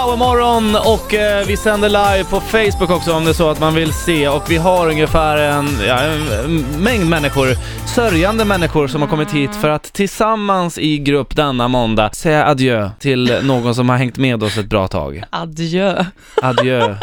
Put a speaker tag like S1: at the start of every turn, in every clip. S1: Powermorgon och eh, vi sänder live på Facebook också om det är så att man vill se och vi har ungefär en, ja, en mängd människor, sörjande människor som har kommit hit för att tillsammans i grupp denna måndag säga adjö till någon som har hängt med oss ett bra tag.
S2: Adjö.
S1: Adjö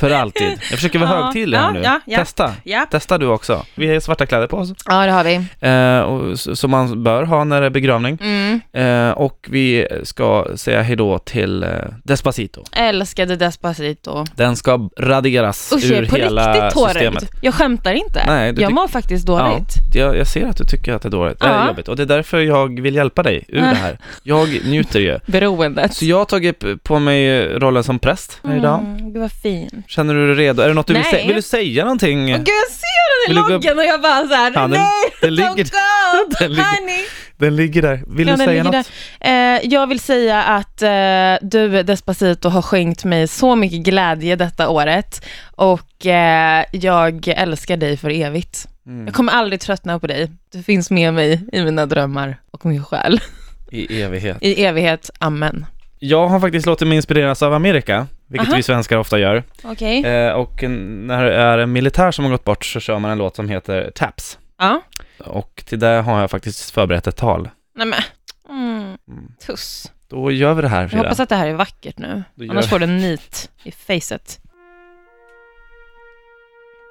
S1: för alltid. Jag försöker vara
S2: Ja,
S1: högtidlig här
S2: ja,
S1: nu.
S2: ja, ja.
S1: Testa.
S2: Ja.
S1: Testa du också. Vi har svarta kläder på oss,
S2: ja, det har vi.
S1: eh, och, s- som man bör ha när det är begravning.
S2: Mm.
S1: Eh, och vi ska säga hejdå till eh, Despacito.
S2: Älskade Despacito.
S1: Den ska raderas
S2: Usch, jag
S1: ur
S2: är på
S1: hela
S2: riktigt tårögd.
S1: systemet.
S2: Jag skämtar inte.
S1: Nej, du
S2: jag
S1: tyck-
S2: mår faktiskt dåligt.
S1: Jag, jag ser att du tycker att det är dåligt, det är
S2: Ja.
S1: jobbigt och det är därför jag vill hjälpa dig ur
S2: Ah.
S1: det här. Jag njuter ju.
S2: Beroendet.
S1: Så jag har tagit på mig rollen som präst här idag.
S2: Mm, gud vad fin.
S1: Känner du dig redo? Är det något du vill
S2: Nej.
S1: säga? Vill du säga någonting?
S2: Åh, gud, jag ser
S1: Vill
S2: den
S1: du
S2: i
S1: gå upp-
S2: loggen och jag bara såhär,
S1: Ja, den-
S2: nej!
S1: den ligger-
S2: oh God,
S1: den ligger-
S2: honey.
S1: Den ligger där. Vill
S2: Ja,
S1: du
S2: den
S1: säga
S2: ligger
S1: något?
S2: där. Eh, jag vill säga att eh, du Despacito har skänkt mig så mycket glädje detta året och eh, jag älskar dig för evigt.
S1: Mm.
S2: Jag kommer aldrig tröttna på dig. Du finns med mig i mina drömmar och min själ.
S1: I evighet.
S2: I evighet, amen.
S1: Jag har faktiskt låtit mig inspireras av Amerika, vilket
S2: Aha.
S1: vi svenskar ofta gör.
S2: Okej.
S1: Eh, och en- när det är en militär som har gått bort så kör man en låt som heter Taps.
S2: Ja.
S1: Och till det har jag faktiskt förberett ett tal.
S2: Nej men. Mm.
S1: Mm.
S2: Tuss.
S1: Då gör vi det här
S2: Jag
S1: Frida.
S2: hoppas att det här är vackert nu.
S1: Då gör
S2: Annars
S1: vi.
S2: får du en nit i facet.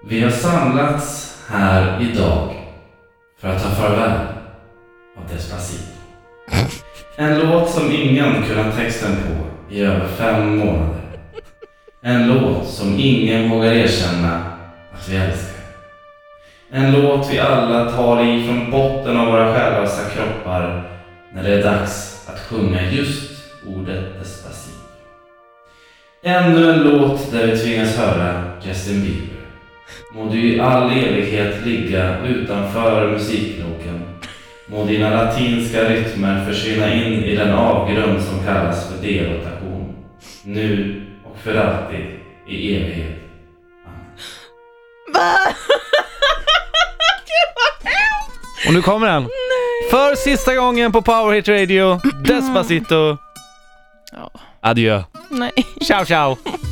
S3: Vi har samlats här idag för att ta farväl av Despacito. En låt som ingen kunnat texten på i över fem månader. En låt som ingen vågar erkänna att vi älskar. En låt vi alla tar i från botten av våra själlösa kroppar när det är dags att sjunga just ordet Despacito. Ännu en låt där vi tvingas höra Justin Bieber. Må du i all evighet ligga utanför musikkroken. Må dina latinska rytmer försvinna in i den avgrund som kallas för derotation. Nu och för alltid i evighet.
S2: Va? Gud vad hemskt!
S1: Och nu kommer den. För sista gången på Power Hit Radio, Despacito.
S2: Ja.
S1: Adjö.
S2: Nej.
S1: Ciao ciao.